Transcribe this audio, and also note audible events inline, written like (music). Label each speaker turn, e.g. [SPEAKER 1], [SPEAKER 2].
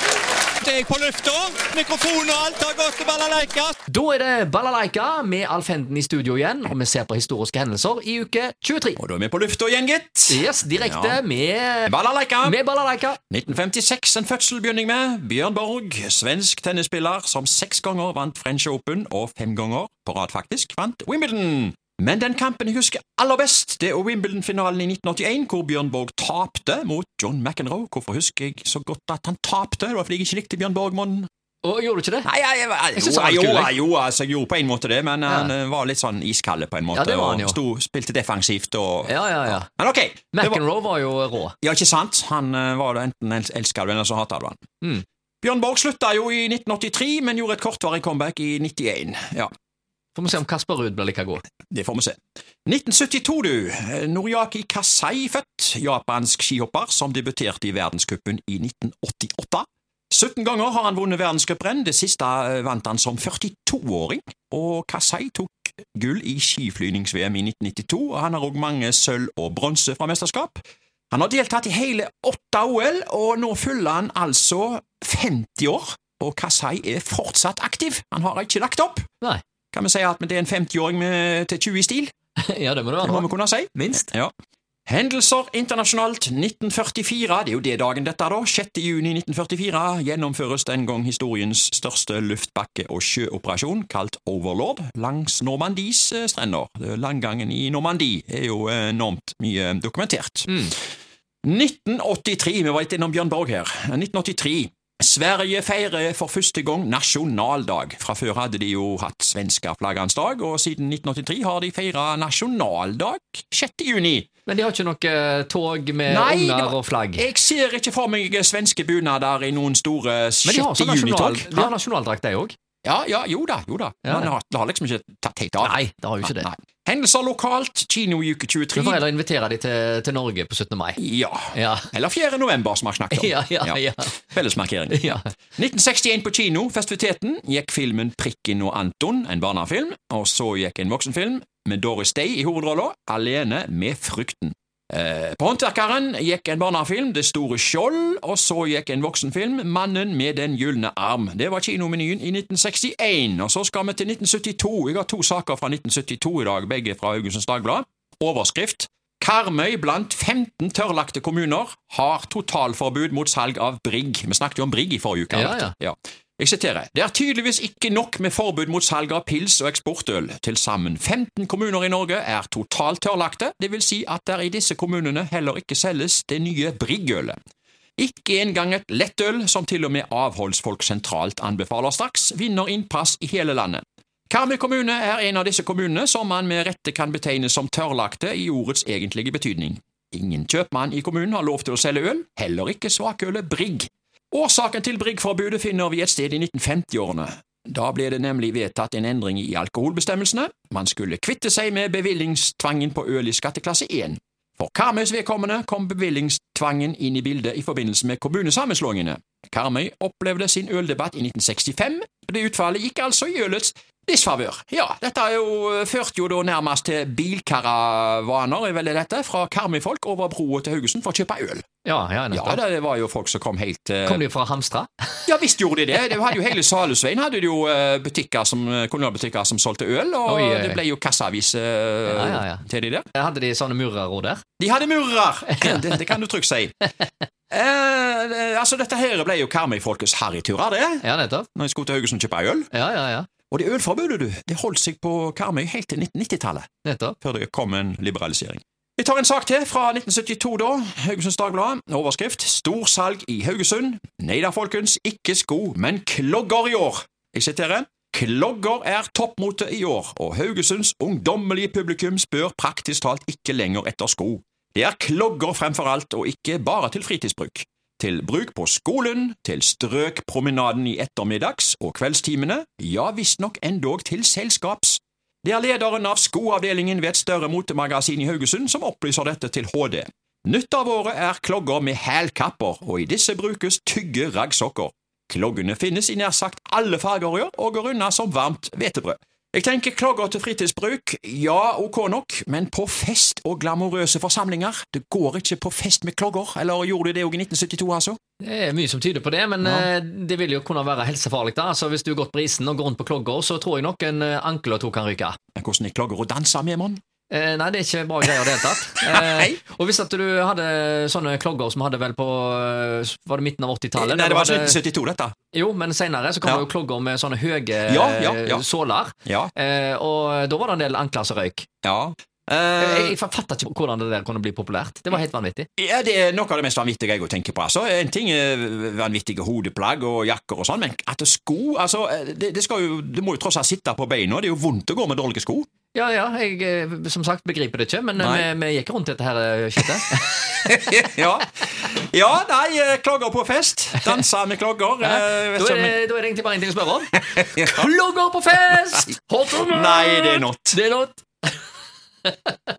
[SPEAKER 1] Snart er jeg på lufta. Mikrofon og alt har gått til balalaika.
[SPEAKER 2] Da er det Balalaika med Alf Henden i studio igjen, og vi ser på historiske hendelser i uke 23.
[SPEAKER 1] Og da er vi på lufta igjen, gitt.
[SPEAKER 2] Yes, direkte
[SPEAKER 1] Ja.
[SPEAKER 2] med,
[SPEAKER 1] Balalaika.
[SPEAKER 2] med Balalaika.
[SPEAKER 1] 1956 en fødsel begynner jeg med. Bjørn Borg, svensk tennisspiller som seks ganger vant French Open, og fem ganger på rad faktisk vant Wimbledon. Men den kampen jeg husker aller best, det er Wimbledon-finalen i 1981, hvor Bjørn Borg tapte mot John McEnroe. Hvorfor husker jeg så godt at han tapte? Det var fordi jeg ikke likte Bjørn Borg-mannen.
[SPEAKER 2] Og gjorde du ikke det?
[SPEAKER 1] Nei, jeg, jeg, jeg,
[SPEAKER 2] Jeg
[SPEAKER 1] jo,
[SPEAKER 2] synes han var
[SPEAKER 1] jo,
[SPEAKER 2] kul, jeg.
[SPEAKER 1] jo, altså, jeg gjorde på en måte det, men han eh, var litt sånn iskalle på en måte.
[SPEAKER 2] Ja, det var han
[SPEAKER 1] og
[SPEAKER 2] jo.
[SPEAKER 1] Sto, spilte defensivt og
[SPEAKER 2] Ja, ja, ja.
[SPEAKER 1] Men ok! det var,
[SPEAKER 2] McEnroe var jo rå.
[SPEAKER 1] ja, ikke sant? Han eh, var det enten els- elska du eller så hata du han.
[SPEAKER 2] Mm.
[SPEAKER 1] Bjørn Borg slutta jo i 1983, men gjorde et kortvarig comeback i 91. Ja,
[SPEAKER 2] Får vi se om Kasper Ruud blir like god. (laughs)
[SPEAKER 1] det får vi se. 1972, du. Eh, Noriaki Kasai født. Japansk skihopper som debuterte i verdenscupen i 1988. 17 ganger har han vunnet verdenscuprenn. Det siste eh, vant han som 42-åring. Og Kasai tok gull i skiflyvnings-VM i 1992, og han har òg mange sølv og bronse fra mesterskap. Han har deltatt i hele åtte OL, og nå fyller han altså 50 år. Og Kasai er fortsatt aktiv. Han har ikke lagt opp.
[SPEAKER 2] Nei.
[SPEAKER 1] Kan vi si at det er en 50-åring med- til 20 i stil?
[SPEAKER 2] ja, det må du
[SPEAKER 1] Det må
[SPEAKER 2] ha.
[SPEAKER 1] vi kunne si.
[SPEAKER 2] Minst.
[SPEAKER 1] Ja. Hendelser internasjonalt 1944, det er jo det dagen dette da, 6. juni 1944 gjennomføres den gang historiens største luftbakke- og sjøoperasjon, kalt Overlord, langs Normandies eh, strender. Eh, Landgangen i Normandie er jo eh, enormt mye eh, dokumentert.
[SPEAKER 2] Mm.
[SPEAKER 1] 1983, vi var litt innom Bjørn Borg her. 1983. Sverige feirer for første gang nasjonaldag. Fra før hadde de jo hatt svenskeflaggernes dag, og siden 1983 har de feira nasjonaldag 6. juni.
[SPEAKER 2] Men de har ikke noe eh, tog med
[SPEAKER 1] Nei, det
[SPEAKER 2] unger
[SPEAKER 1] var-
[SPEAKER 2] og flagg.
[SPEAKER 1] Jeg ser ikke for meg svenske bunader i noen store
[SPEAKER 2] Men de har
[SPEAKER 1] 6.
[SPEAKER 2] sånn nasjonal,
[SPEAKER 1] juni-tog.
[SPEAKER 2] de har nasjonaldrakt, de òg.
[SPEAKER 1] Ja, ja, jo da, jo da.
[SPEAKER 2] Ja,
[SPEAKER 1] Men
[SPEAKER 2] ja.
[SPEAKER 1] det har, det har liksom ikke tatt helt av.
[SPEAKER 2] Nei, det har jo ikke det.
[SPEAKER 1] Nei. Hendelser lokalt, kino i uke
[SPEAKER 2] Du
[SPEAKER 1] 23.
[SPEAKER 2] får heller invitere de til, til Norge på 17. mai.
[SPEAKER 1] Ja.
[SPEAKER 2] Ja, (laughs)
[SPEAKER 1] Eller 4. november, som vi har snakket om.
[SPEAKER 2] ja, ja. ja.
[SPEAKER 1] Fellesmarkering.
[SPEAKER 2] ja.
[SPEAKER 1] 1961 på kino, festiviteten, gikk filmen Prikken og Anton, en barnefilm, og så gikk en voksenfilm med Doris Day i hovedrolla, Alene med frykten. Eh, på Håndverkeren gikk en barnefilm, Det store skjold, og så gikk en voksenfilm, Mannen med den gylne arm. Det var kinomenyen i 1961, og så skal vi til 1972. Jeg har to saker fra 1972 i dag, begge fra Haugesunds Dagblad. Overskrift Karmøy blant 15 tørrlagte kommuner har totalforbud mot salg av brigg. Vi snakket jo om brigg i forrige uke.
[SPEAKER 2] Ja,
[SPEAKER 1] Albert. Ja. Jeg siterer. Det er tydeligvis ikke nok med forbud mot salg av pils og eksportøl. Til sammen 15 kommuner i Norge er totalt tørrlagte, det vil si at der i disse kommunene heller ikke selges det nye briggølet. Ikke engang et lettøl, som til og med avholdsfolk sentralt anbefaler straks, vinner innpass i hele landet. Karmøy kommune er en av disse kommunene som man med rette kan betegne som tørrlagte i ordets egentlige betydning. Ingen kjøpmann i kommunen har lov til å selge øl, heller ikke svakølet Brigg. Årsaken til Brigg-forbudet finner vi et sted i 1950-årene. Da ble det nemlig vedtatt en endring i alkoholbestemmelsene. Man skulle kvitte seg med bevillingstvangen på øl i skatteklasse 1. For Karmøys vedkommende kom bevillingstvangen inn i bildet i forbindelse med kommunesammenslåingene. Karmøy opplevde sin øldebatt i 1965, og det utfallet gikk altså i ølets disfavør. Ja, dette er jo, eh, førte jo da nærmest til bilkaravaner, er vel det dette, fra Karmøy-folk over broa til Haugesund for å kjøpe øl.
[SPEAKER 2] ja, ja,
[SPEAKER 1] Ja,
[SPEAKER 2] nettopp.
[SPEAKER 1] det var jo folk som kom helt eh,
[SPEAKER 2] Kom de fra Hamstra?
[SPEAKER 1] Ja visst gjorde de det. Det hadde jo Hele Salhusveien hadde det jo eh, butikker som, kommunalbutikker som solgte øl, og
[SPEAKER 2] Oi, oi, oi.
[SPEAKER 1] det ble jo kasseavis eh,
[SPEAKER 2] Ja, ja, ja.
[SPEAKER 1] til de der.
[SPEAKER 2] Hadde de sånne murero der?
[SPEAKER 1] De hadde murer!
[SPEAKER 2] (laughs)
[SPEAKER 1] det, det kan du trygt si. Eh, det- altså, dette her ble jo Karmøy-folkets harryturer, det.
[SPEAKER 2] Ja, nettopp.
[SPEAKER 1] Når jeg skulle til Haugesund og kjøpe øl.
[SPEAKER 2] Ja, ja, ja.
[SPEAKER 1] Og det ølforbudet, du, det holdt seg på Karmøy helt til 1990-tallet.
[SPEAKER 2] Nettopp.
[SPEAKER 1] før det kom en liberalisering. Vi tar en sak til fra 1972, da. Haugesunds Dagblad. Overskrift 'Storsalg i Haugesund'. Nei da, folkens, ikke sko, men klogger i år. Jeg siterer. Klogger er toppmote i år, og Haugesunds ungdommelige publikum spør praktisk talt ikke lenger etter sko. Det er klogger fremfor alt, og ikke bare til fritidsbruk. Til bruk på skolen, til strøkpromenaden i ettermiddags- og kveldstimene, ja visstnok endog til selskaps. Det er lederen av skoavdelingen ved et større motemagasin i Haugesund som opplyser dette til HD. Nytt av året er klogger med hælkapper, og i disse brukes tygge raggsokker. Kloggene finnes i nær sagt alle farger i år og går unna som varmt hvetebrød. Jeg tenker klagger til fritidsbruk, ja, ok nok, men på fest og glamorøse forsamlinger? Det går ikke på fest med klogger, eller gjorde de det òg i 1972, altså?
[SPEAKER 2] Det er mye som tyder på det, men
[SPEAKER 1] Ja.
[SPEAKER 2] eh, det vil jo kunne være helsefarlig. da. Altså, Hvis du har gått på isen og går rundt på klogger, så tror jeg nok en eh, ankel eller to kan ryke.
[SPEAKER 1] Men hvordan er klogger å danse med, mann?
[SPEAKER 2] Eh, nei, det er ikke bra greier i det hele
[SPEAKER 1] (laughs)
[SPEAKER 2] tatt. Eh,
[SPEAKER 1] Nei.
[SPEAKER 2] og hvis at du hadde sånne klogger som hadde vel på eh, Var det midten av 80-tallet?
[SPEAKER 1] Nei, det var
[SPEAKER 2] Eller
[SPEAKER 1] 1972, dette.
[SPEAKER 2] Jo, men senere så kom
[SPEAKER 1] Ja.
[SPEAKER 2] det jo klogger med sånne høye eh,
[SPEAKER 1] Ja, ja, ja.
[SPEAKER 2] såler.
[SPEAKER 1] Ja.
[SPEAKER 2] Eh, og da var det en del ankler som røyk.
[SPEAKER 1] ja.
[SPEAKER 2] Jeg,
[SPEAKER 1] Eh,
[SPEAKER 2] jeg fatter ikke hvordan det der kunne bli populært. Det var helt vanvittig.
[SPEAKER 1] Ja, Det er noe av det mest vanvittige jeg tenker på. altså. En ting er vanvittige hodeplagg og jakker og sånn, men at sko altså, det, det, skal jo, det må jo tross alt sitte på beina. Det er jo vondt å gå med dårlige sko. (laughs)
[SPEAKER 2] Ja, ja, jeg eh, som sagt begriper det ikke, men eh, vi,
[SPEAKER 1] Nei.
[SPEAKER 2] vi gikk rundt dette her eh, skittet.
[SPEAKER 1] ja. ja, nei, eh, klogger på fest. Danse med klogger.
[SPEAKER 2] Ja.
[SPEAKER 1] eh,
[SPEAKER 2] Da er,
[SPEAKER 1] som-
[SPEAKER 2] det, da er det egentlig bare én ting å spørre om. Klogger på fest! Hot or not?
[SPEAKER 1] Nei, det er not.
[SPEAKER 2] Det er not.